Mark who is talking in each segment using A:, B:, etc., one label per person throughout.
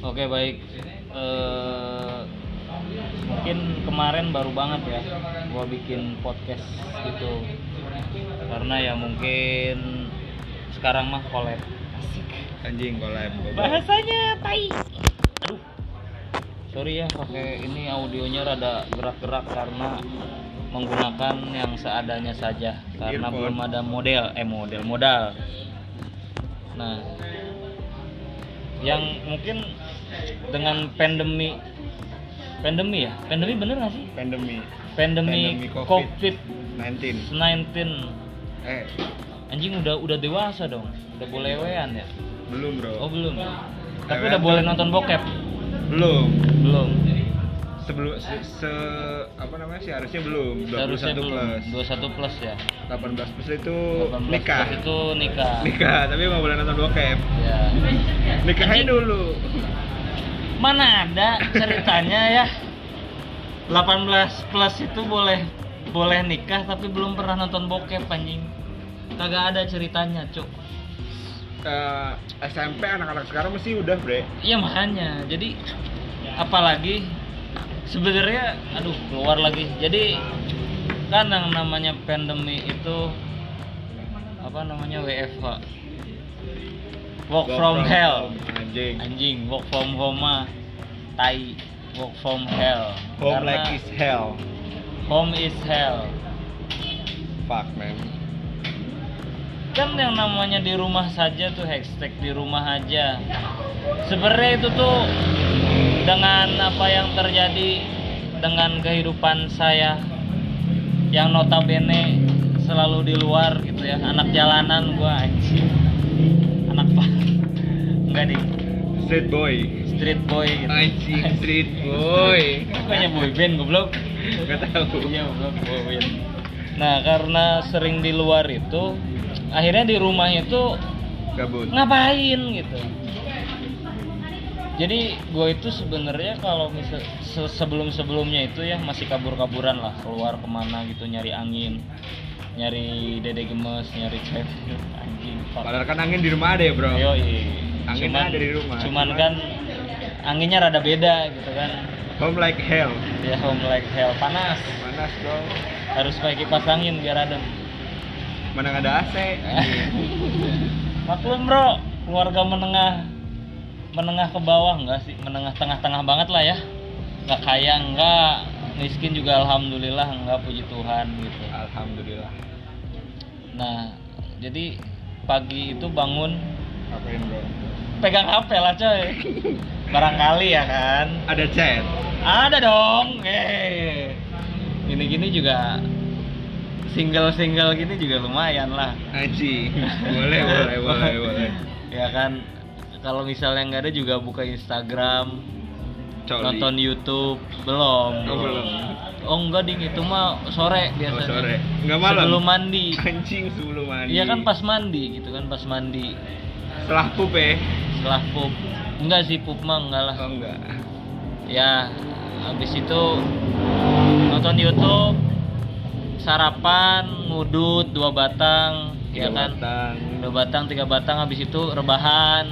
A: Oke baik. Eh, mungkin kemarin baru banget ya gua bikin podcast gitu. Karena ya mungkin sekarang mah collab.
B: anjing kolab
A: Bahasanya tai. Aduh. Sorry ya pakai ini audionya rada gerak-gerak karena menggunakan yang seadanya saja karena belum
B: Earphone.
A: ada model eh model modal. Nah, yang mungkin dengan pandemi pandemi ya pandemi bener nggak sih
B: pandemi
A: pandemi,
B: Pandemi COVID.
A: covid
B: 19
A: 19
B: eh
A: anjing udah udah dewasa dong udah boleh wean ya
B: belum bro
A: oh belum tapi
B: Wewean
A: udah boleh
B: tuh.
A: nonton bokep
B: belum
A: belum
B: sebelum se, se- apa namanya sih harusnya belum 21
A: seharusnya belum
B: plus
A: 21 plus ya
B: 18 plus itu
A: 18 plus
B: nikah
A: itu nikah
B: nikah tapi nggak boleh nonton bokep
A: ya
B: nikahnya
A: Anjing.
B: dulu
A: mana ada ceritanya ya 18 plus itu boleh boleh nikah tapi belum pernah nonton bokep anjing kagak ada ceritanya cuk
B: Eh, SMP anak-anak sekarang mesti udah bre
A: Iya makanya. Jadi apalagi sebenarnya aduh keluar lagi. Jadi kan yang namanya pandemi itu apa namanya WFH. Work
B: Go
A: from, hell.
B: home, anjing
A: Anjing, work from home mah tai. Work from hell.
B: home
A: Karena
B: like is hell
A: home is hell.
B: fuck man
A: kan yang namanya di rumah saja tuh hashtag di rumah aja sebenarnya itu tuh dengan apa yang terjadi dengan kehidupan saya yang notabene selalu di luar gitu ya anak jalanan gua anjing anak apa enggak nih
B: street boy
A: street boy gitu
B: anjing street boy
A: Bukannya boy band goblok
B: nggak tahu
A: Iya, belum bawain. nah karena sering di luar itu akhirnya di rumah itu
B: gabut
A: ngapain gitu jadi gue itu sebenarnya kalau misal sebelum sebelumnya itu ya masih kabur kaburan lah keluar kemana gitu nyari angin nyari dede gemes nyari cewek gitu. anjing fuck.
B: padahal kan angin di rumah ada ya bro
A: Yoi.
B: Anginnya ada di rumah,
A: cuman
B: cuman-
A: kan anginnya rada beda gitu kan
B: home like hell
A: ya home like hell panas
B: panas bro
A: harus pakai kipas angin biar adem
B: mana nggak ada AC
A: Eh. maklum bro keluarga menengah menengah ke bawah enggak sih menengah tengah-tengah banget lah ya nggak kaya enggak miskin juga alhamdulillah enggak puji Tuhan gitu
B: alhamdulillah
A: nah jadi pagi itu bangun
B: ngapain bro
A: pegang HP lah coy barangkali ya kan
B: ada chat
A: ada dong eh gini-gini juga single-single gini juga lumayan lah
B: Aji, boleh, boleh, boleh, boleh.
A: ya kan kalau misalnya nggak ada juga buka Instagram
B: Coli.
A: nonton YouTube belum
B: Oh, belum.
A: oh enggak ding itu mah sore biasanya
B: Oh, sore. Nggak malam.
A: sebelum mandi
B: Anjing sebelum mandi.
A: iya kan pas mandi gitu kan pas mandi
B: Setelah pup ya.
A: setelah pup enggak sih pup mah enggak lah
B: Oh enggak.
A: ya habis itu nonton YouTube sarapan ngudut dua batang ya kan
B: Kelewatan.
A: dua batang tiga batang habis itu rebahan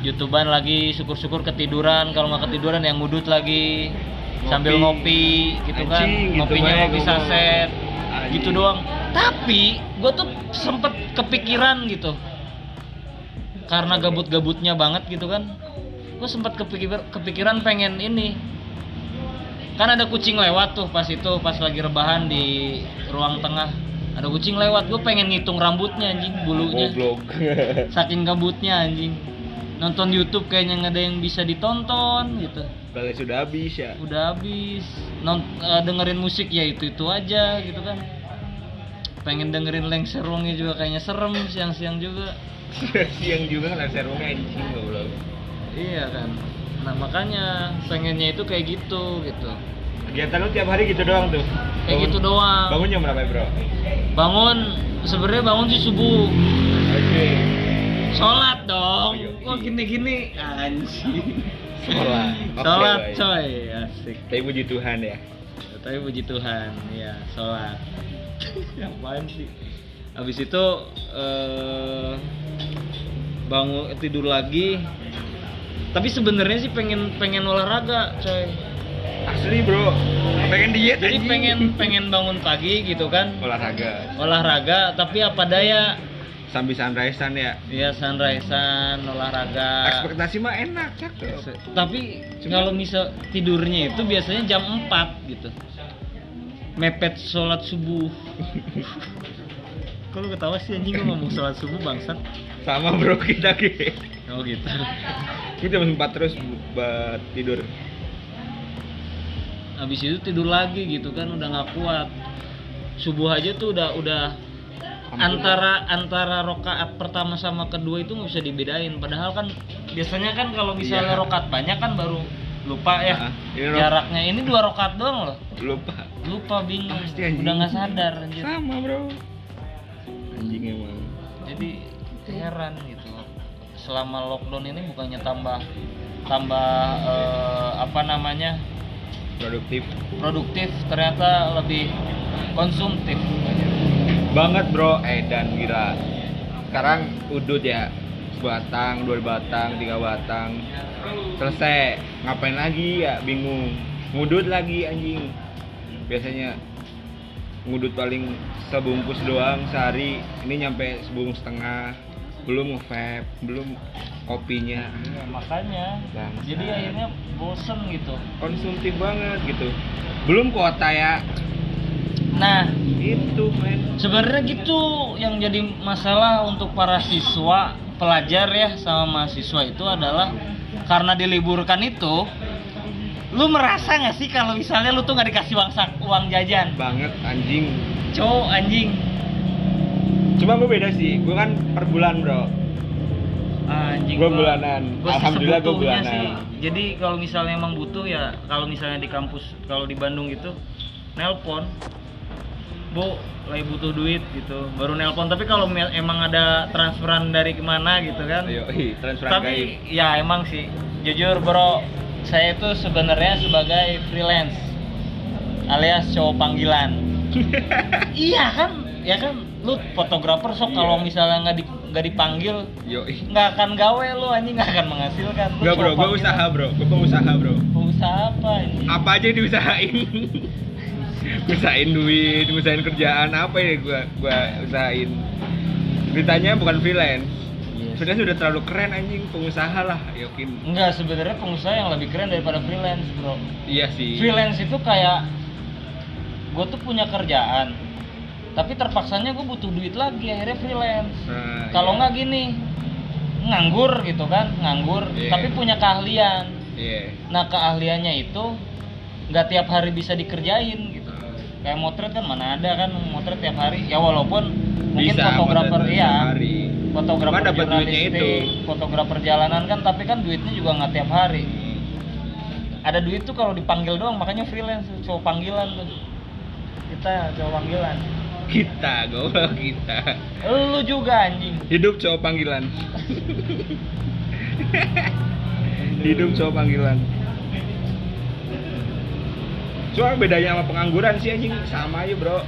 A: youtuban lagi syukur-syukur ketiduran kalau nggak ketiduran yang ngudut lagi
B: Ngopi.
A: sambil ngopi gitu kan
B: Anjing, gitu
A: ngopinya
B: bae
A: ngopi
B: gua mah.
A: saset
B: Anjing.
A: gitu doang tapi gue tuh sempet kepikiran gitu karena gabut-gabutnya banget gitu kan gue sempet kepikir kepikiran pengen ini kan ada kucing lewat tuh pas itu pas lagi rebahan di ruang tengah ada kucing lewat gue pengen ngitung rambutnya anjing bulunya
B: Goblok.
A: saking gabutnya anjing nonton YouTube kayaknya nggak ada yang bisa ditonton gitu
B: Kalau sudah habis ya.
A: udah habis non eh, dengerin musik ya itu itu aja gitu kan pengen dengerin Leng Serungnya juga kayaknya serem siang-siang juga
B: Siang juga kan serungnya anjing goblok.
A: iya kan nah makanya pengennya itu kayak gitu gitu
B: Kegiatan lu tiap hari gitu doang tuh.
A: kayak gitu doang
B: Bangun jam berapa ya, Bro?
A: bangun sebenarnya bangun sih subuh
B: Oke.
A: sholat dong
B: Ayo.
A: kok gini-gini anjing
B: iya. Sholat. Oke,
A: sholat
B: baik.
A: coy asik
B: Tapi puji Tuhan ya.
A: tapi puji Tuhan ya sholat apaan sih habis itu eh, bangun tidur lagi tapi sebenarnya sih pengen pengen olahraga coy
B: Asli bro, pengen diet
A: jadi
B: Iya, anjing.
A: pengen pengen bangun pagi gitu kan
B: olahraga
A: olahraga tapi apa daya
B: sambil sunrise-an ya.
A: ya sunrisean olahraga
B: Ekspektasi mah enak cakep.
A: tapi
B: Cuma-
A: kalau misal tidurnya itu biasanya jam 4 gitu mepet sholat subuh kalau ketawa sih anjing gua ngomong sholat subuh bangsat
B: Sama bro kita ke.
A: oh gitu
B: Gue jam 4 terus buat tidur.
A: habis itu tidur lagi gitu kan udah nggak kuat subuh aja tuh udah udah
B: Ampun.
A: antara antara rokaat pertama sama kedua itu nggak bisa dibedain padahal kan biasanya kan kalau misalnya
B: Iya.
A: rokaat banyak kan baru lupa ya
B: Ah, ini rok-
A: jaraknya ini dua rokaat doang loh
B: Lupa.
A: lupa bingung
B: Pasti, anjing.
A: udah nggak sadar anjir.
B: Sama bro. Anjing emang.
A: jadi heran gitu selama lockdown ini bukannya tambah tambah eh, apa namanya
B: Produktif
A: produktif ternyata lebih konsumtif
B: banget bro. Eh dan gila. Sekarang udut ya sebatang, dua batang, tiga batang selesai ngapain lagi ya bingung ngudut lagi anjing biasanya ngudut paling sebungkus doang sehari ini nyampe sebungkus setengah belum vape belum kopinya
A: Ya, makanya
B: Bangsat.
A: jadi akhirnya bosen gitu
B: konsumtif banget gitu belum kuota ya
A: nah
B: itu men
A: sebenarnya gitu yang jadi masalah untuk para siswa pelajar ya sama mahasiswa itu adalah karena diliburkan itu lu merasa nggak sih kalau misalnya lu tuh nggak dikasih uang sak- uang jajan
B: banget anjing
A: cowok anjing
B: cuma gue beda sih gue kan per bulan bro
A: anjing
B: Gua
A: gua-
B: bulanan.
A: gua sih
B: Alhamdulillah gua
A: sebutuhnya
B: bulanan.
A: sih. jadi kalau misalnya emang butuh ya kalau misalnya di kampus kalau di Bandung gitu nelpon bu lagi butuh duit gitu baru nelpon tapi kalau mel- emang ada transferan dari kemana gitu kan
B: ayo transferan gaib
A: tapi ya emang sih jujur bro saya itu sebenarnya sebagai freelance alias cowok panggilan iya kan ya kan lu fotografer sok kalau
B: Iya.
A: misalnya nggak di, nggak dipanggil
B: yoi
A: nggak akan gawe lu anjing nggak akan menghasilkan Lu
B: Enggak bro,
A: cowok
B: gue
A: panggilan.
B: usaha bro, gue pengusaha bro
A: usaha apa ini
B: Apa aja yang diusahain Usahain duit, usahain kerjaan, apa ya gue gua usahain Beritanya bukan freelance Freelance udah terlalu keren anjing, pengusaha lah yakin
A: Enggak, sebenarnya pengusaha yang lebih keren daripada freelance, bro.
B: Iya sih
A: freelance itu kayak gue tuh punya kerjaan tapi terpaksanya gue butuh duit lagi akhirnya freelance
B: Nah,
A: kalau
B: iya.
A: nggak gini nganggur gitu kan nganggur
B: Iya.
A: tapi punya keahlian
B: Iya
A: nah keahliannya itu nggak tiap hari bisa dikerjain gitu kayak motret kan mana ada kan motret tiap hari ya walaupun mungkin
B: Bisa,
A: fotografer
B: motret
A: iya
B: sehari.
A: fotografer
B: Cuman dapat duitnya
A: jurnalistik,
B: itu.
A: fotografer jalanan kan tapi kan duitnya juga nggak tiap hari ada duit tuh kalau dipanggil doang makanya freelance tuh, cowok panggilan tuh kita cowok panggilan
B: Kita, goblok kita
A: lu juga anjing
B: Hidup cowok panggilan Hidup cowok panggilan Cuma bedanya sama pengangguran sih anjing Sama aja bro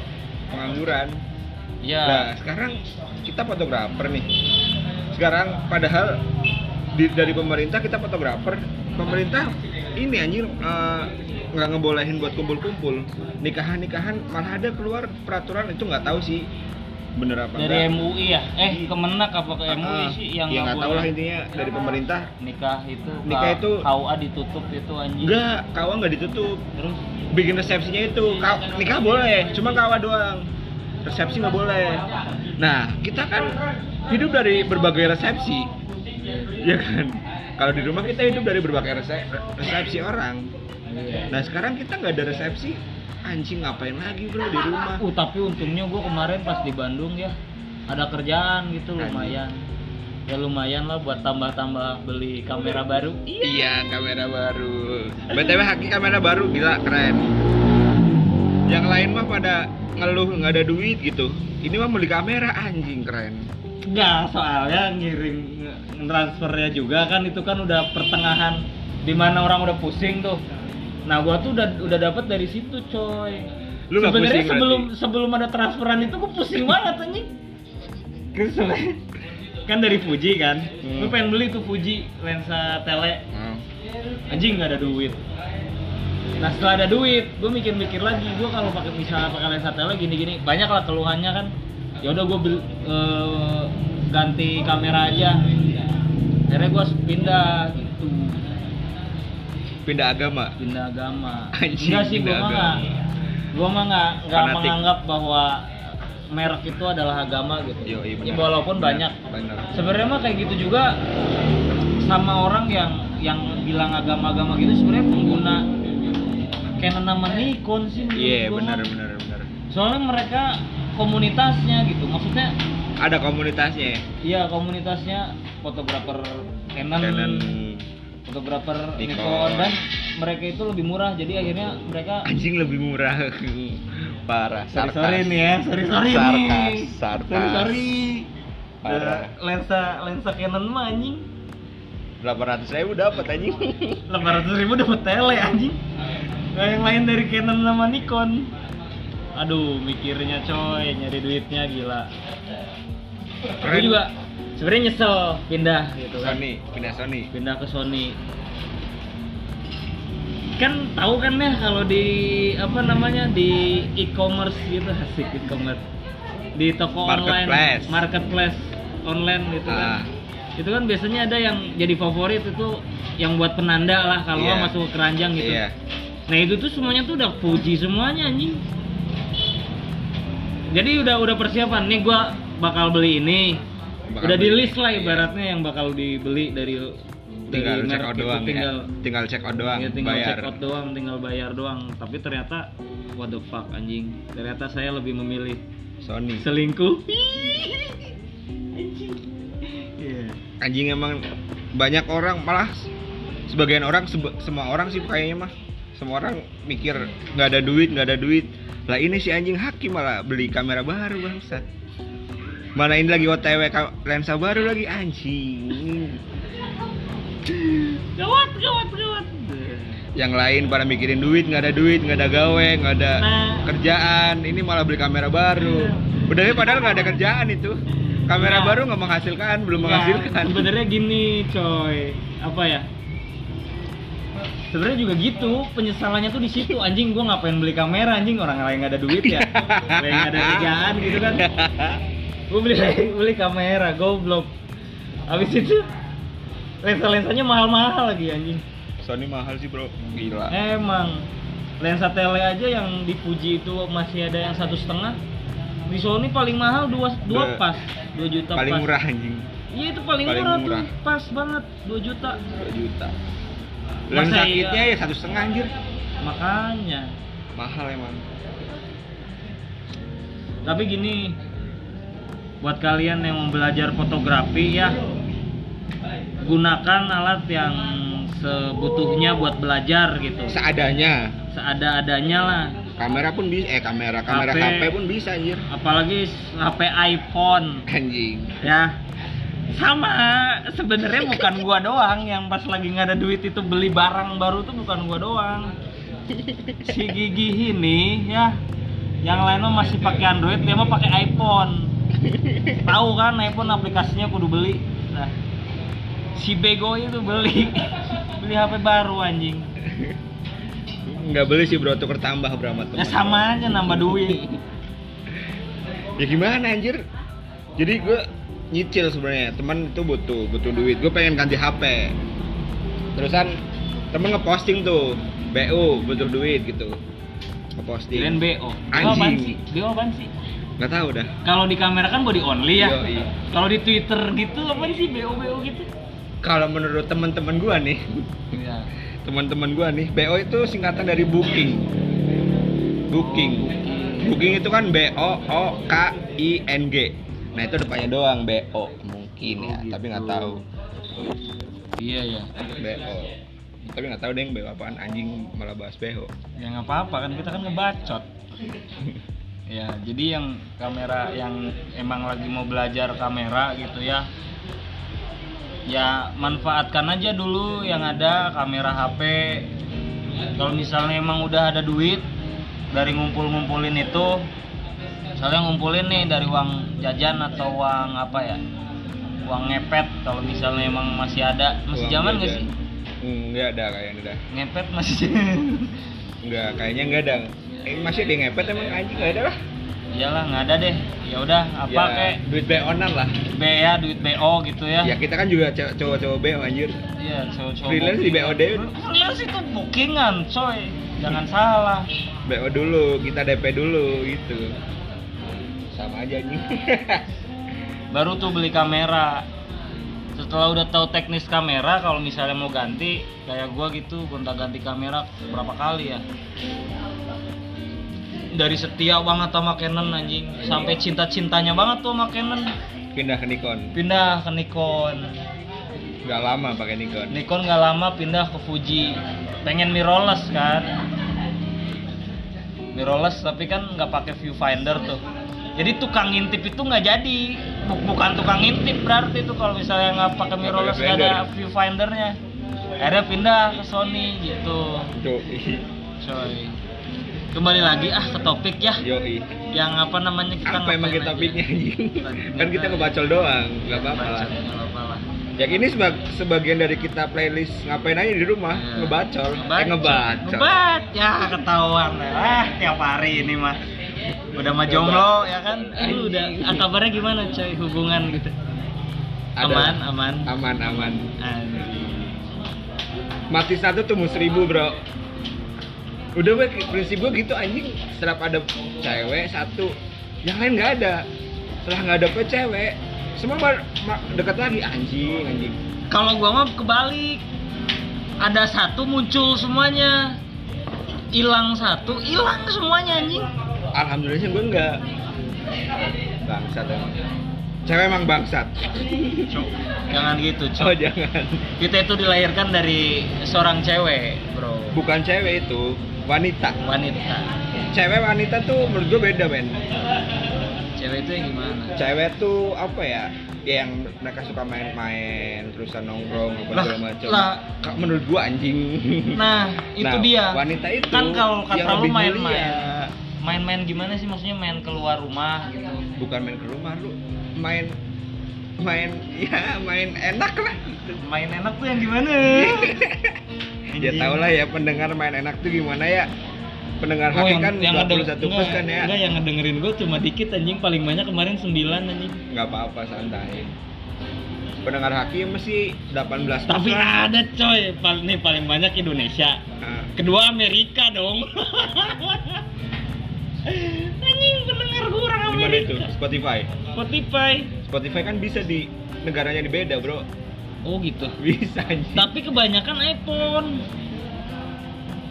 B: Pengangguran
A: ya
B: Nah sekarang kita fotografer nih Sekarang padahal di- dari pemerintah kita fotografer Pemerintah ini anjing eh, nggak ngebolehin buat kumpul-kumpul nikahan-nikahan malah ada keluar peraturan itu nggak tahu sih bener apa
A: dari
B: enggak.
A: MUI ya eh kemenak apa ke
B: Ah,
A: MUI sih yang nggak
B: ya nggak tahu lah
A: boleh
B: intinya dari pemerintah
A: nikah itu
B: Nikah
A: K-
B: itu-
A: KUA ditutup itu anjing
B: enggak kawa nggak ditutup
A: terus
B: bikin resepsinya itu ka- nikah boleh cuma kawa doang resepsi nggak boleh nah kita kan hidup dari berbagai resepsi ya kan kalau di rumah kita hidup dari berbagai rese- resepsi orang nah sekarang kita nggak ada resepsi anjing ngapain lagi bro di rumah
A: uh tapi untungnya gue kemarin pas di Bandung ya ada kerjaan gitu
B: Anjing.
A: lumayan ya lumayan lah buat tambah-tambah beli kamera baru
B: Iya, kamera baru. BTW Haki kamera baru gila keren. Yang lain mah pada ngeluh nggak ada duit gitu. Ini mah beli kamera anjing keren.
A: Enggak, soalnya ngirim nge- transfernya juga kan itu kan udah pertengahan dimana orang udah pusing tuh. Nah, gua tuh udah udah dapat dari situ, coy.
B: Lu nggak
A: Sebenarnya
B: pusing
A: sebelum
B: berarti?
A: sebelum ada transferan itu gua pusing banget anjing. Kesel. kan dari Fuji kan
B: Hmm.
A: lu pengen beli tuh Fuji lensa tele
B: Hmm.
A: anjing nggak ada duit nah setelah ada duit gue mikir-mikir lagi gue kalau pakai misalnya pakai lensa tele gini-gini banyak lah keluhannya kan ya udah gue ganti kamera aja akhirnya gue pindah gitu
B: pindah agama
A: pindah agama
B: Anjing,
A: enggak sih gue
B: pindah
A: mah
B: agama.
A: nggak gue mah nggak nggak
B: Fanatik.
A: menganggap bahwa merek itu adalah agama gitu
B: Yoi,
A: ya,
B: iya, benar.
A: walaupun
B: Benar,
A: banyak
B: benar.
A: sebenarnya mah kayak gitu juga sama orang yang yang bilang agama-agama gitu sebenarnya pengguna Canon sama Nikon sih menurut
B: iya
A: gua
B: benar
A: mah.
B: benar benar
A: soalnya mereka komunitasnya gitu maksudnya
B: ada komunitasnya ya
A: iya komunitasnya fotografer Canon,
B: Canon
A: fotografer
B: Nikon.
A: Nikon dan mereka itu lebih murah jadi akhirnya mereka
B: anjing lebih murah parah
A: sorry
B: sarkas
A: sorry nih ya sorry sorry
B: sarkas
A: nih
B: sarkas
A: sorry sorry
B: Parah.
A: Eh, lensa lensa Canon mah anjing
B: 800 ribu dapat anjing
A: Gitu 800 ribu dapat tele anjing Nah, yang lain dari Canon sama Nikon aduh mikirnya coy nyari duitnya gila Aku
B: Keren.
A: juga sebenarnya nyesel pindah gitu kan
B: Sony pindah Sony
A: pindah ke Sony kan tahu kan ya kalau di apa namanya di e-commerce gitu asik e-commerce di toko
B: Marketplace.
A: online marketplace online gitu kan
B: Ah.
A: itu kan biasanya ada yang jadi favorit itu yang buat penanda lah kalau
B: Iya.
A: masuk ke keranjang gitu
B: iya
A: nah itu tuh semuanya tuh udah Fuji semuanya anjing jadi udah udah persiapan nih gua bakal beli ini
B: Bakal
A: udah di
B: beli.
A: list lah
B: Iya.
A: ibaratnya yang bakal dibeli dari
B: tinggal
A: dari
B: check
A: merek
B: out
A: itu,
B: doang
A: tinggal
B: ya tinggal check out doang
A: ya, tinggal
B: bayar
A: check out doang tinggal bayar doang tapi ternyata what the fuck anjing ternyata saya lebih memilih
B: Sony
A: selingkuh Anjing. Iya.
B: anjing emang banyak orang malah sebagian orang sebe- semua orang sih kayaknya mah semua orang mikir nggak ada duit nggak ada duit lah ini si anjing hakim malah beli kamera baru bangsat mana ini lagi otw ka- lensa baru lagi anjing
A: gawat gawat gawat Iya.
B: yang lain pada mikirin duit nggak ada duit nggak ada gawe nggak ada
A: Nah.
B: kerjaan ini malah beli kamera baru udah deh, padahal nggak ada kerjaan itu kamera
A: Nah.
B: baru nggak menghasilkan belum menghasilkan
A: Nah, sebenarnya gini, coy. Apa ya? Sebenarnya juga gitu, penyesalannya tuh di situ. Anjing gua ngapain beli kamera anjing orang lain nggak ada duit ya. Lain nggak ada kerjaan gitu kan. Gua beli beli kamera, goblok. Habis itu lensa-lensanya mahal-mahal lagi anjing.
B: Sony mahal sih bro gila
A: Eh, Emang lensa tele aja yang dipuji itu masih ada yang satu setengah. Di Sony paling mahal dua dua
B: Dua-
A: pas, dua juta
B: paling
A: pas.
B: murah anjing
A: Iya itu paling,
B: Paling
A: murah,
B: murah.
A: tuh, pas banget 2 juta.
B: 2 juta
A: Masa
B: lensa
A: iya?
B: kitnya ya satu setengah anjir
A: Makanya.
B: mahal emang
A: Tapi gini, buat kalian yang mau belajar fotografi ya, gunakan alat yang sebutuhnya buat belajar gitu.
B: seadanya
A: Seada-adanya lah.
B: kamera pun bisa eh kamera kamera
A: HP.
B: HP pun bisa anjir
A: Apalagi HP iPhone
B: anjing
A: ya. Sama, sebenarnya bukan gua doang yang pas lagi nggak ada duit itu beli barang baru tuh bukan gua doang. si gigi ini ya yang lain mah masih pakai Android dia mah pakai iPhone tahu kan iPhone aplikasinya kudu beli nah si bego itu beli beli HP baru anjing
B: nggak beli sih bro tuker tambah berapa
A: ya
B: teman
A: sama aja nambah duit
B: ya gimana anjir jadi gue nyicil sebenarnya teman itu butuh butuh duit gue pengen ganti HP terusan temen ngeposting tuh BU butuh duit gitu
A: kirain
B: ngeposting
A: BO BO
B: Anjing.
A: apaan sih BO apaan sih
B: nggak tahu dah
A: kalau di kamera kan body only ya
B: Yoi.
A: kalau di Twitter gitu apaan sih BO BO gitu
B: kalau menurut teman-teman gua nih
A: Iya.
B: teman-teman gua nih BO itu singkatan dari booking booking booking itu kan B O O K I N G nah itu depannya doang BO mungkin
A: Oh,
B: ya
A: gitu.
B: tapi nggak tahu
A: iya ya
B: BO tapi nggak tahu deh yang BO apaan anjing malah bahas BO
A: ya nggak apa-apa kan kita kan ngebacot ya jadi yang kamera yang emang lagi mau belajar kamera gitu ya ya manfaatkan aja dulu yang ada kamera HP kalau misalnya emang udah ada duit dari ngumpul-ngumpulin itu misalnya ngumpulin nih dari uang jajan atau uang apa ya uang ngepet kalau misalnya emang masih ada masih
B: Uang
A: zaman nggak
B: jajan.
A: sih
B: Hmm, nggak ada kayaknya dah
A: ngepet masih
B: nggak kayaknya nggak ada eh, masih ada yang ngepet emang anjing nggak ada lah
A: iyalah nggak ada deh ya udah apa
B: Ya,
A: kayak
B: duit beonan lah
A: B ya duit BO gitu ya
B: ya kita kan juga cow- cowok-cowok beo anjir
A: Iya, cowok-cowok
B: Freelance di
A: booking.
B: BOD.
A: Freelance itu bookingan, coy. Jangan salah.
B: BO dulu, kita DP dulu gitu. Sama aja nih.
A: Baru tuh beli kamera. Setelah udah tahu teknis kamera, kalau misalnya mau ganti, kayak gua gitu, gonta-ganti kamera berapa kali ya? Dari setia banget sama Canon anjing, sampai cinta-cintanya banget tuh sama Canon.
B: Pindah ke Nikon.
A: Pindah ke Nikon.
B: Gak lama pakai Nikon.
A: Nikon nggak lama pindah ke Fuji. Pengen mirrorless kan? Mirrorless tapi kan nggak pakai viewfinder tuh. Jadi tukang ngintip itu nggak jadi. Bu- Bukan tukang ngintip berarti tuh kalau misalnya nggak pakai
B: Nggak
A: mirrorless
B: pakai
A: nggak ada
B: blender.
A: viewfindernya. Akhirnya pindah ke Sony gitu.
B: Yoi.
A: Coy. Kembali lagi ah ke topik ya.
B: Yoi.
A: Yang apa namanya kita
B: Iya. Apa emang
A: ngapain
B: kita
A: aja.
B: topiknya anjing? Kan kita kebacol doang, gak apa-apa lah.
A: Kebacol, nggak apa-apa lah.
B: Ya ini seba- sebagian dari kita playlist ngapain aja di rumah,
A: Iya.
B: ngebacol, eh,
A: ngebat
B: ngebacol.
A: ngebat ya ketahuan ah tiap hari ini mah udah mah jomblo ya kan Aduh, udah ah, kabarnya gimana coy hubungan gitu
B: Ada.
A: aman aman
B: Aman aman.
A: Anjing.
B: Mati satu tuh seribu bro. Udah gue prinsip gue gitu anjing. Setelah ada cewek satu, yang lain nggak ada. Setelah nggak ada pe cewek, semua ma- ma- deket lagi anjing anjing.
A: kalau gua mah kebalik ada satu muncul semuanya hilang satu hilang semuanya anjing
B: Alhamdulillahnya gue nggak bangsat emang. Cewek emang bangsat.
A: jangan gitu
B: Oh
A: coy
B: jangan.
A: kita itu dilahirkan dari seorang cewek bro
B: Bukan cewek itu, wanita.
A: wanita
B: Cewek wanita tuh menurut gue beda men.
A: cewek itu yang gimana
B: Cewek tuh apa ya? Ya, yang mereka suka main-main, terusan nongkrong apa
A: Lah,
B: segala macam.
A: lah.
B: Ka- Menurut gua anjing.
A: Nah, itu dia.
B: Wanita itu
A: Kan kalau kata
B: yang
A: lu
B: lebih
A: main-main.
B: mulia.
A: Main-main gimana sih maksudnya main keluar rumah gitu.
B: bukan main ke rumah lu, main main ya main enak lah gitu.
A: Main enak tuh yang gimana?
B: Ya tau lah ya pendengar main enak tuh gimana ya? Pendengar
A: Oh,
B: haki kan
A: ngedeng-
B: 21 plus
A: enggak,
B: kan ya.
A: Enggak, yang ngedengerin gue cuma dikit anjing, paling banyak kemarin 9 anjing.
B: Enggak apa-apa santai. Pendengar haki mesti 18 plus
A: Tapi
B: lah.
A: ada coy, paling nih paling banyak Indonesia.
B: Nah,
A: Kedua Amerika dong. anjing pendengar gue orang
B: di mana itu?
A: Amerika.
B: Spotify.
A: Spotify.
B: Spotify kan bisa di negaranya di beda bro
A: Oh gitu.
B: bisa anjing
A: Tapi kebanyakan iPhone.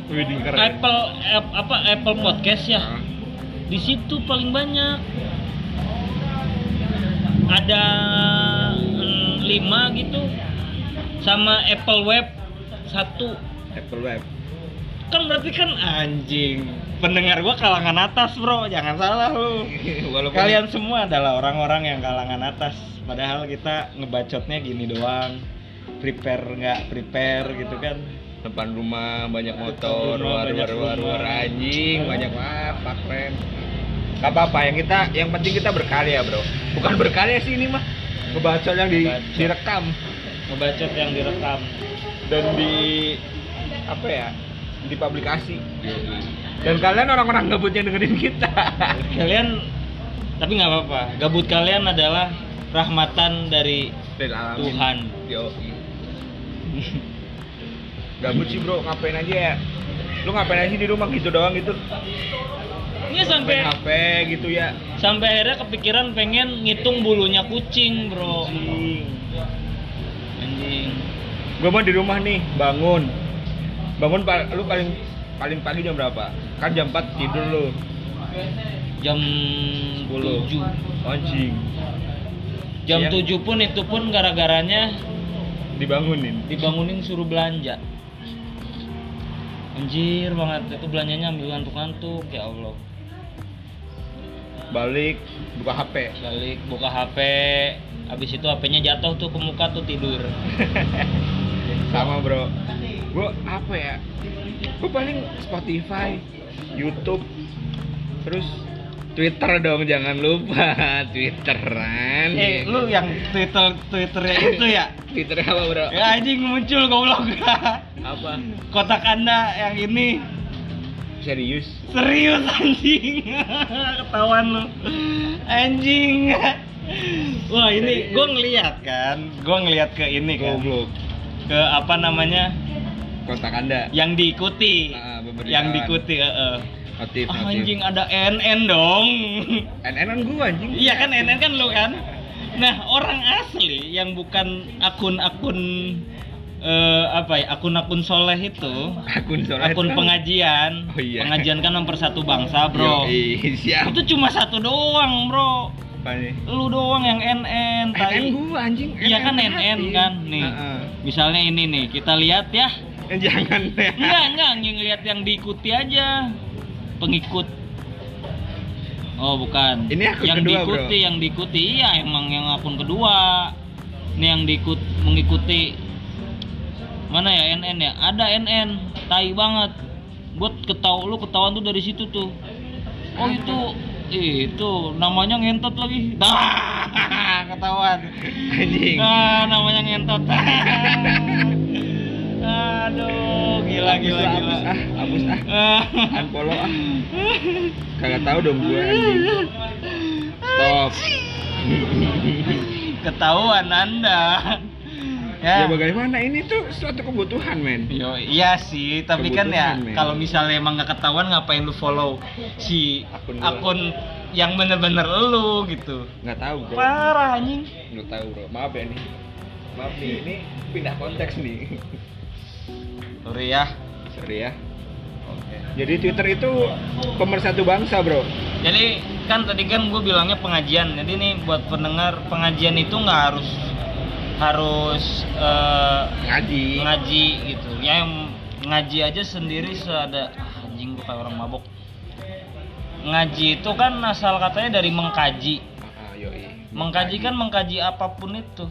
B: Widih, keren.
A: Apple ap- apa Apple Podcast ya.
B: Nah,
A: di situ paling banyak ada mm, lima gitu sama Apple Web satu
B: Apple Web
A: kan berarti kan anjing pendengar gua kalangan atas bro jangan salah lu
B: walaupun
A: kalian semua adalah orang-orang yang kalangan atas padahal kita ngebacotnya gini doang prepare nggak prepare gitu kan
B: depan rumah banyak motor
A: Depan rumah
B: war
A: banyak
B: war war war
A: rumah.
B: anjing banyak apa keren gak apa apa yang kita yang penting kita berkarya bro bukan berkarya sih ini mah ngebacot yang di,
A: Ngebacot.
B: direkam
A: ngebacot yang direkam
B: dan di apa ya dipublikasi dan kalian orang-orang gabut yang dengerin kita
A: kalian tapi nggak apa-apa gabut kalian adalah rahmatan dari
B: Dan alamin.
A: Tuhan
B: Yo. Gabut sih bro, ngapain aja ya? Lu ngapain aja di rumah gitu doang gitu?
A: ini Iya, sampai
B: Main HP gitu ya?
A: sampai akhirnya kepikiran pengen ngitung bulunya kucing bro anjing
B: Gue mah di rumah nih, bangun. Bangun pa- lu paling paling pagi jam berapa? Kan jam 4 tidur lu.
A: jam
B: 10.
A: 7
B: Anjing,
A: jam
B: Siang.
A: 7 pun itu pun gara-garanya
B: dibangunin.
A: dibangunin suruh belanja anjir banget itu belanjanya ambil ngantuk-ngantuk ya Allah
B: Balik buka HP.
A: balik buka HP habis itu HP-nya jatuh tuh ke muka tuh tidur
B: Sama bro. Gue apa ya? Gue paling Spotify, YouTube, terus Twitter dong jangan lupa Twitteran.
A: Eh, lu
B: iya.
A: yang Twitter Twitternya itu ya?
B: Twitter apa bro?
A: Ya anjing muncul goblok.
B: Apa?
A: Kotak Anda yang ini
B: Serius?
A: serius anjing. Ketahuan lu. Anjing. Wah, ini gua ngeliat kan. Gua ngeliat ke ini kan.
B: Goblok.
A: Ke apa namanya?
B: Kontak anda.
A: Yang diikuti.
B: Ah, pemberitaan.
A: Iya. yang diikuti, heeh.
B: Notif.
A: Ah,
B: notif.
A: anjing ada NN dong.
B: NN-an gua anjing.
A: Iya kan NN kan lu kan. Nah, orang asli yang bukan akun-akun eh, apa ya? Akun-akun soleh itu,
B: Akun soalnya.
A: akun pengajian.
B: Oh, iya.
A: Pengajian kan mempersatu bangsa, Bro.
B: siap.
A: Itu cuma satu doang, Bro.
B: Apa nih?
A: Lu doang yang NN,
B: NN
A: tai.
B: gua anjing.
A: Iya kan NN
B: hati.
A: kan, nih.
B: Heeh.
A: Misalnya ini nih, kita lihat ya.
B: ah. Jangan ya.
A: Enggak, Iya, enggak, yang lihat yang diikuti aja. Pengikut. Oh, bukan.
B: Ini akun
A: yang
B: kedua,
A: diikuti,
B: Bro.
A: yang diikuti. Iya, emang yang akun kedua. Ini yang diikut mengikuti mana ya NN ya? Ada NN, tai banget. Buat ketau lu ketahuan tuh dari situ tuh. Oh, itu itu namanya ngentot lagi. Dah, ketahuan.
B: Anjing.
A: Ah, namanya ngentot. Aduh, gila
B: Hapus
A: gila
B: lah,
A: gila.
B: hapus ah, hapus ah.
A: Ah.
B: Unfollow ah. Kagak tahu dong gua anjing. Stop.
A: Ketahuan Anda.
B: Ya.
A: Ya.
B: bagaimana ini tuh suatu kebutuhan men.
A: Yo, iya sih, tapi kan ya
B: Kebutuhan, men.
A: kalau misalnya emang nggak ketahuan ngapain lu follow si
B: Akun
A: akun,
B: gua.
A: yang bener-bener lu gitu.
B: Nggak tahu bro.
A: Parah anjing.
B: Nggak tahu bro. Maaf ya nih. Maaf nih ini pindah konteks nih.
A: Sorry ya.
B: Sorry ya. Jadi Twitter itu pemersatu bangsa bro.
A: Jadi kan tadi kan gue bilangnya pengajian. Jadi nih buat pendengar pengajian itu nggak harus harus eh,
B: Ngaji.
A: ngaji gitu. Ya yang ngaji aja sendiri seada ah, anjing gue kayak orang mabok. Ngaji itu kan asal katanya dari mengkaji.
B: Ah, yoi.
A: Mengkaji kan mengkaji apapun itu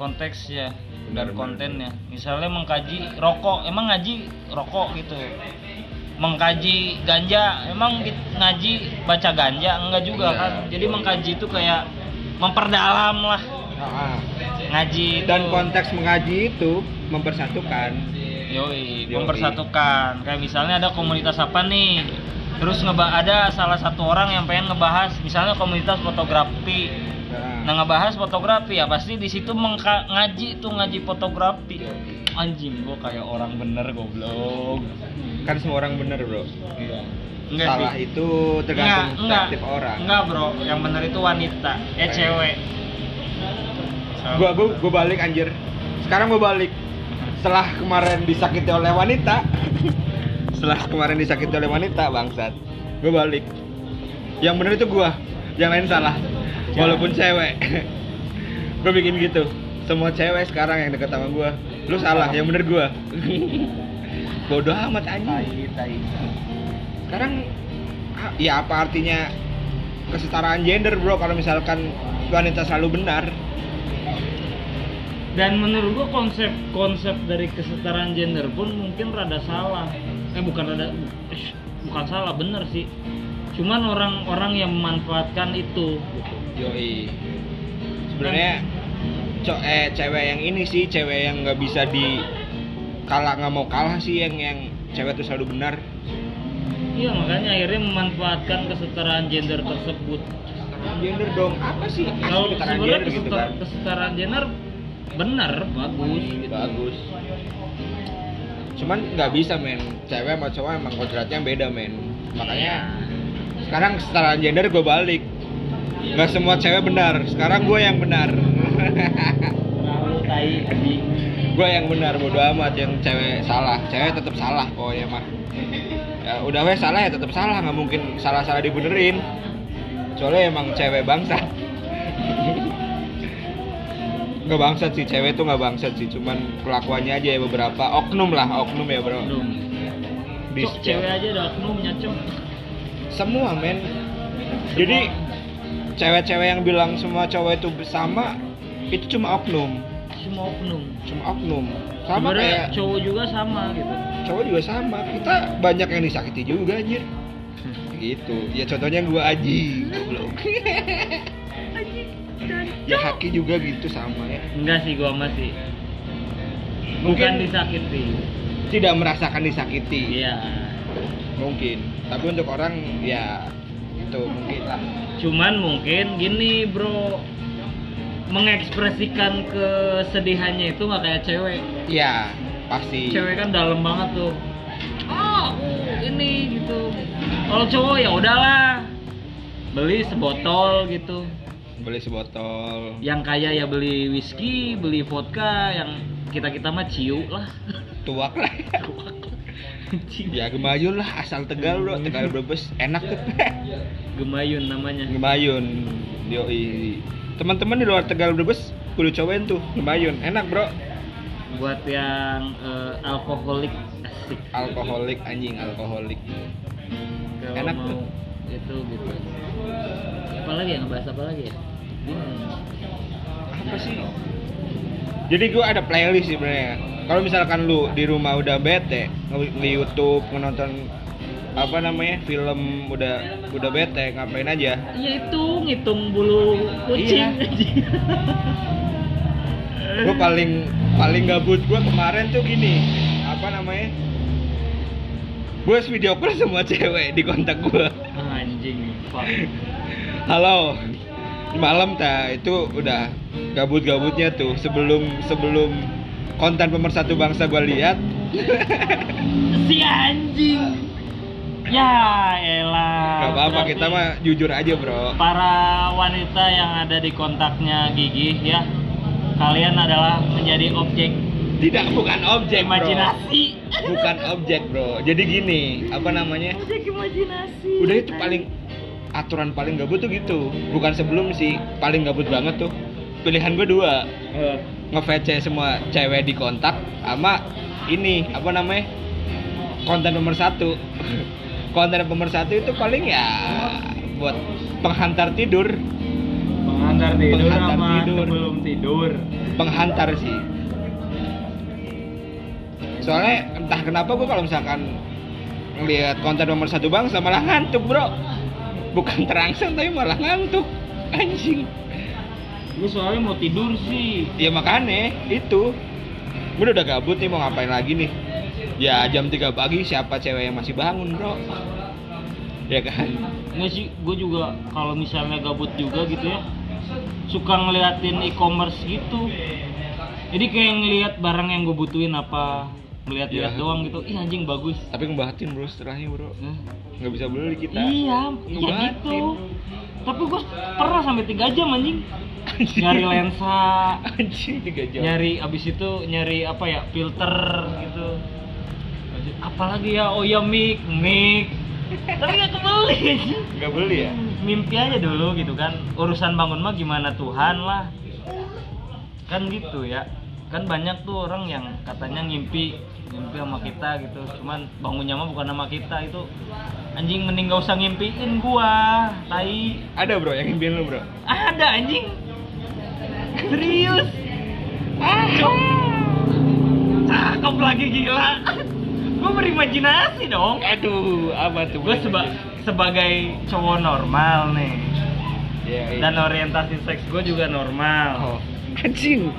A: konteksnya
B: Benar,
A: dan
B: benar.
A: kontennya. Misalnya mengkaji rokok, emang ngaji rokok gitu. Mengkaji ganja, emang it- ngaji baca ganja enggak juga
B: Iya.
A: kan. Jadi mengkaji itu kayak memperdalam lah
B: Ah, ah.
A: ngaji itu.
B: Dan konteks mengaji itu mempersatukan.
A: Yoi,
B: Yoi.
A: mempersatukan. Kayak misalnya ada komunitas apa nih? Terus ngeba ada salah satu orang yang pengen ngebahas misalnya komunitas fotografi.
B: Nah,
A: Nah ngebahas fotografi ya pasti di situ mengka- ngaji tuh ngaji fotografi. Anjing gua kayak orang bener goblok.
B: kan semua orang bener bro.
A: Iya.
B: Salah
A: sih.
B: itu
A: Enggak,
B: tergantung
A: enggak.
B: perspektif orang.
A: Enggak, Bro. Yang bener itu wanita, eh
B: Baik.
A: cewek.
B: Gua, gua gua balik anjir. Sekarang gua balik. Setelah kemarin disakiti oleh wanita. Setelah kemarin disakiti oleh wanita, bangsat. Gua balik. Yang bener itu gua, yang lain salah. Walaupun cewek. gua bikin gitu. Semua cewek sekarang yang deket sama gua, lu salah, yang bener gua. Bodoh amat anjing.
A: Tai, tai.
B: Sekarang ah, ya apa artinya kesetaraan gender, Bro, kalau misalkan wanita selalu benar?
A: Dan menurut gua konsep-konsep dari kesetaraan gender pun mungkin rada salah. Eh bukan rada eh, bukan salah, bener sih. Cuman orang-orang yang memanfaatkan itu gitu.
B: Yoi. Sebenarnya co- eh, cewek yang ini sih cewek yang nggak bisa di kalah nggak mau kalah sih yang yang cewek itu selalu benar.
A: Iya makanya akhirnya memanfaatkan kesetaraan gender tersebut.
B: Gender dong apa sih?
A: Kalau
B: Asli keterangan
A: sebenarnya
B: gender gitu
A: kesetar-
B: kan?
A: kesetaraan gender benar bagus gitu.
B: Bagus. Cuman nggak bisa men, cewek sama cowok emang kodratnya beda men.
A: Iya.
B: Makanya sekarang kesetaraan gender gue balik. Nggak semua cewek benar, sekarang gue yang benar.
A: Terlalu tai anjing.
B: gue yang benar bodo amat yang cewek salah cewek tetap salah pokoknya mah ya, udah weh salah ya tetap salah nggak mungkin salah salah dibenerin soalnya emang cewek bangsat nggak bangsat sih cewek tuh nggak bangsat sih cuman kelakuannya aja ya beberapa oknum lah oknum ya bro
A: Belum.
B: Di-
A: Cok cewek aja udah oknumnya cok.
B: semua men jadi cewek-cewek yang bilang semua cowok itu sama itu cuma oknum
A: Semua oknum.
B: cuma oknum sama
A: Sebenarnya
B: kayak
A: cowok juga sama gitu.
B: cowok juga sama kita banyak yang disakiti juga anjir gitu ya contohnya gua aji goblok ya haki juga gitu sama ya
A: Enggak sih gua masih bukan
B: mungkin
A: disakiti.
B: tidak merasakan disakiti
A: Iya.
B: mungkin tapi untuk orang ya itu mungkin lah
A: Cuman mungkin gini, Bro. Mengekspresikan kesedihannya itu nggak kayak cewek.
B: ya pasti
A: Cewek kan dalam banget tuh. Ah, aku ini gitu. Kalau cowok ya udahlah. Beli sebotol gitu.
B: beli sebotol
A: Yang kaya ya beli whisky, beli vodka, yang kita-kita mah ciu lah.
B: tuak lah
A: Ciu.
B: ya gemayun lah asal tegal bro tegal brebes enak tuh
A: Gemayun namanya.
B: gemayun yoi teman-teman di luar tegal brebes kudu cobain tuh gemayun enak bro
A: Buat yang eh, alkoholik asik.
B: alkoholik anjing alkoholik
A: Kalau
B: Enak
A: mau
B: tuh.
A: itu gitu. Apa lagi yang bahas apa lagi ya? Bingung.
B: apa sih jadi gue ada playlist sebenarnya kalau misalkan lu di rumah udah bete nge nge- YouTube menonton apa namanya film udah udah bete ngapain aja
A: Ya itu ngitung bulu kucing.
B: Iya. gue paling paling gabut gue kemarin tuh gini apa namanya gue video call semua cewek di kontak gue
A: Ah, Anjing, fuck.
B: Halo. Malam ta itu udah gabut-gabutnya tuh sebelum sebelum konten pemersatu bangsa gua lihat
A: Si anjing. Ya elah.
B: nggak apa-apa
A: Berarti
B: kita mah jujur aja bro
A: Para wanita yang ada di kontaknya gigi ya. Kalian adalah menjadi objek
B: tidak bukan objek bro
A: imajinasi.
B: bukan objek bro jadi gini apa namanya
A: Objek imajinasi.
B: udah itu paling aturan paling gabut tuh gitu bukan sebelum sih paling gabut banget tuh pilihan gue dua
A: Eh,
B: nge-VC semua cewek di kontak sama ini apa namanya konten nomor satu konten nomor satu itu paling ya buat penghantar tidur
A: Pengantar tidur
B: Pengantar
A: sama
B: tidur.
A: sebelum tidur.
B: penghantar sih soalnya entah kenapa gue kalau misalkan ngelihat konten nomor satu bang malah ngantuk bro bukan terangsang tapi malah ngantuk anjing
A: Gue soalnya mau tidur sih.
B: ya makanya itu gue udah gabut nih mau ngapain lagi nih ya jam 3 pagi siapa cewek yang masih bangun bro ya kan
A: Nggak sih, gue juga kalau misalnya gabut juga gitu ya Suka ngeliatin e-commerce gitu Jadi kayak ngeliat barang yang gue butuhin apa Ngeliat-liat
B: Iya.
A: doang gitu, ih anjing bagus
B: tapi ngebahatin bro setelahnya bro
A: Hah?
B: nggak bisa beli kita
A: Iya, iya
B: Ngebatin.
A: gitu Tapi gue pernah sampai 3 jam anjing Nyari lensa
B: anjing tiga jam
A: Nyari, abis itu nyari apa ya, filter gitu Apalagi ya, oh ya mic, mic Tapi gak kebeli anjing.
B: nggak beli ya
A: mimpi aja dulu gitu kan urusan bangun mah gimana Tuhan lah kan gitu ya kan banyak tuh orang yang katanya ngimpi ngimpi sama kita gitu cuman bangunnya mah bukan sama kita itu anjing mending gak usah ngimpiin gua tai
B: ada bro yang impian lu bro
A: ada anjing serius cok cakep lagi gila gua berimajinasi dong
B: aduh apa tuh
A: gua seba sebagai cowok normal nih
B: ya, iya.
A: dan orientasi seks gue juga normal
B: Oh, anjing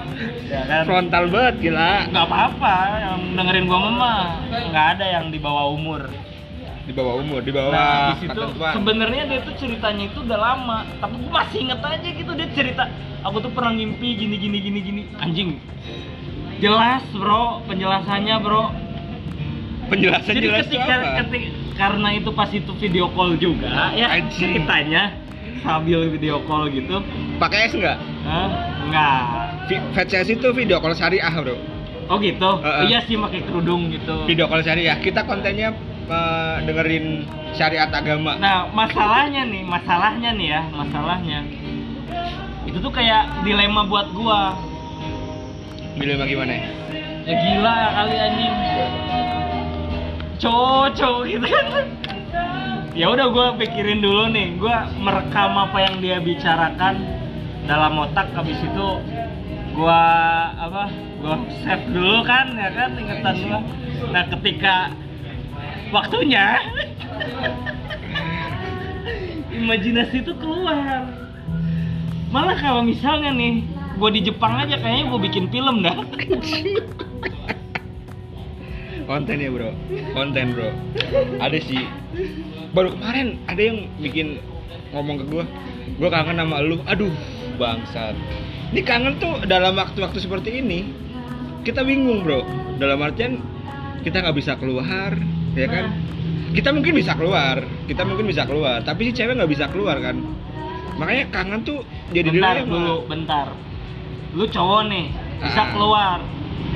A: ya kan
B: frontal banget gila
A: nggak apa-apa yang dengerin gue mama nggak ada yang di bawah umur
B: di bawah umur di bawah
A: nah di situ
B: ketentuan
A: sebenarnya dia tuh ceritanya itu udah lama tapi gue masih inget aja gitu dia cerita aku tuh pernah ngimpi gini gini gini gini anjing jelas bro penjelasannya bro
B: penjelasan
A: jadi
B: jelas itu
A: ketika,
B: apa
A: ketika- karena itu pas itu video call juga ya
B: Anjing.
A: ceritanya sambil video call gitu
B: pakai es nggak
A: Hah? enggak
B: Vi- VCS itu video call syariah bro
A: Oh gitu?
B: Heeh.
A: Iya sih pakai kerudung gitu.
B: video call syariah kita kontennya eh, dengerin syariat agama
A: Nah, masalahnya nih, masalahnya nih ya, masalahnya. Itu tuh kayak dilema buat gua.
B: dilema gimana ya
A: Ya gila kali anjing. Cocok gitu kan. Ya udah gua pikirin dulu nih, gua merekam apa yang dia bicarakan dalam otak habis itu gua apa? Gua save dulu kan ya kan ingetan gua. Nah, ketika waktunya imajinasi itu keluar malah kalau misalnya nih gue di Jepang aja kayaknya gue bikin film dah
B: konten ya bro konten bro ada sih baru kemarin ada yang bikin ngomong ke gua gua kangen sama lu aduh bangsat ini kangen tuh dalam waktu-waktu seperti ini kita bingung bro dalam artian kita nggak bisa keluar ya kan
A: Iya.
B: kita mungkin bisa keluar kita mungkin bisa keluar tapi si cewek nggak bisa keluar kan makanya kangen tuh jadi
A: bentar
B: dilema.
A: dulu bentar lu cowok nih bisa
B: Ah.
A: keluar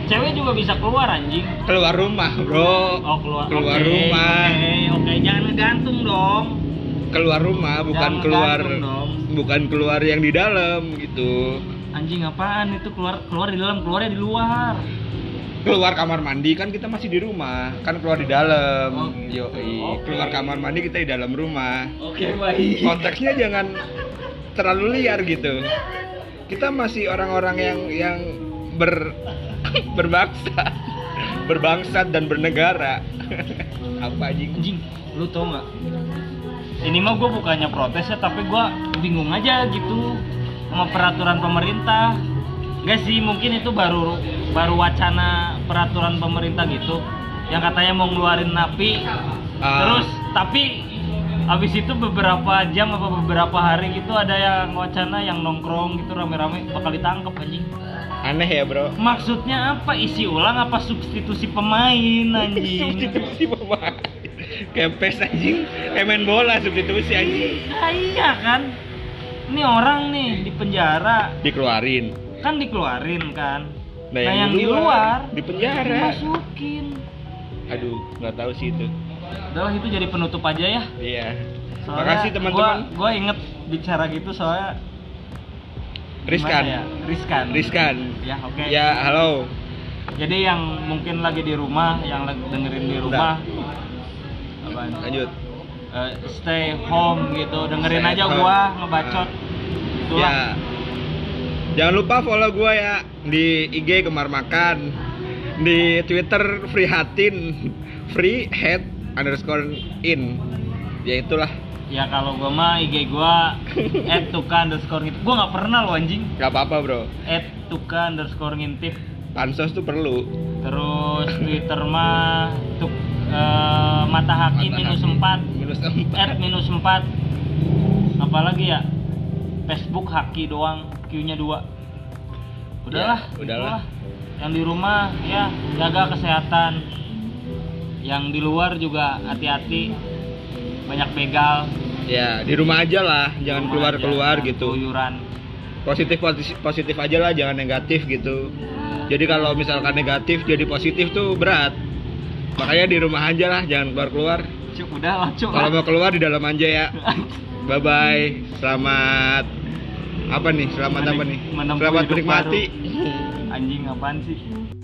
A: cewek juga bisa keluar anjing
B: keluar rumah bro
A: oh keluar
B: keluar
A: Oke,
B: rumah
A: oke oke jangan ngegantung dong
B: keluar rumah bukan
A: Jangan
B: keluar
A: gantung dong.
B: bukan keluar yang di dalam gitu
A: anjing apaan itu keluar keluar di dalam keluarnya di luar
B: keluar kamar mandi kan kita masih di rumah kan keluar di dalam
A: Oh.
B: Yoi.
A: Oke.
B: keluar kamar mandi kita di dalam rumah
A: oke baik
B: konteksnya jangan terlalu liar gitu kita masih orang-orang yang yang ber berbangsa berbangsat dan bernegara apa anjing
A: anjing lu tau nggak ini mah gue bukannya protes ya tapi gue bingung aja gitu sama peraturan pemerintah Gak sih mungkin itu baru baru wacana peraturan pemerintah gitu yang katanya mau ngeluarin napi
B: Ah.
A: terus tapi habis itu beberapa jam apa beberapa hari gitu ada yang wacana yang nongkrong gitu rame-rame bakal ditangkap anjing
B: aneh ya bro
A: maksudnya apa isi ulang apa substitusi pemain anjing
B: substitusi bapak kempes anjing kayak main bola substitusi anjing
A: Nah, iya kan ini orang nih di penjara
B: dikeluarin
A: kan dikeluarin kan nah, yang, di luar
B: luar, di penjara.
A: dimasukin
B: aduh nggak tahu sih itu
A: udahlah itu jadi penutup aja ya
B: iya
A: Soalnya
B: makasih teman-teman
A: gua, gua inget bicara gitu soalnya gimana
B: riskan
A: ya? riskan
B: riskan
A: ya oke
B: ya halo
A: jadi yang mungkin lagi di rumah yang lagi dengerin di rumah apaan?
B: lanjut
A: Eh, stay home gitu dengerin
B: Stay
A: aja
B: at home.
A: gua ngebacot itulah
B: ya jangan lupa follow gue ya di IG Gemar Makan di Twitter Free Hatin Free Head underscore in ya itulah
A: Ya kalau gua mah IG gua at tuka underscore ngintip Gua nggak pernah loh anjing
B: nggak apa-apa bro
A: at tuka underscore ngintip
B: pansos tuh perlu
A: Terus Twitter mah tuk, eh, mata haki
B: Mata
A: minus Er.
B: haki.
A: 4
B: minus
A: At
B: empat
A: minus 4 Apalagi ya Facebook haki doang Q nya 2 Udahlah,
B: Ya, udahlah.
A: itulah. Yang di rumah ya jaga kesehatan Yang di luar juga hati-hati Banyak begal
B: ya di rumah aja lah jangan
A: Rumah
B: keluar
A: aja,
B: keluar
A: jangan
B: gitu
A: keluyuran.
B: positif positif positif aja lah jangan negatif gitu jadi kalau misalkan negatif jadi positif tuh berat makanya di rumah aja lah jangan keluar keluar
A: Cuk, udah lah, cuk.
B: kalau mau keluar di dalam aja ya bye bye selamat apa nih selamat apa nih
A: Menem- menempuh
B: selamat
A: hidup
B: menikmati
A: Anjing apaan sih?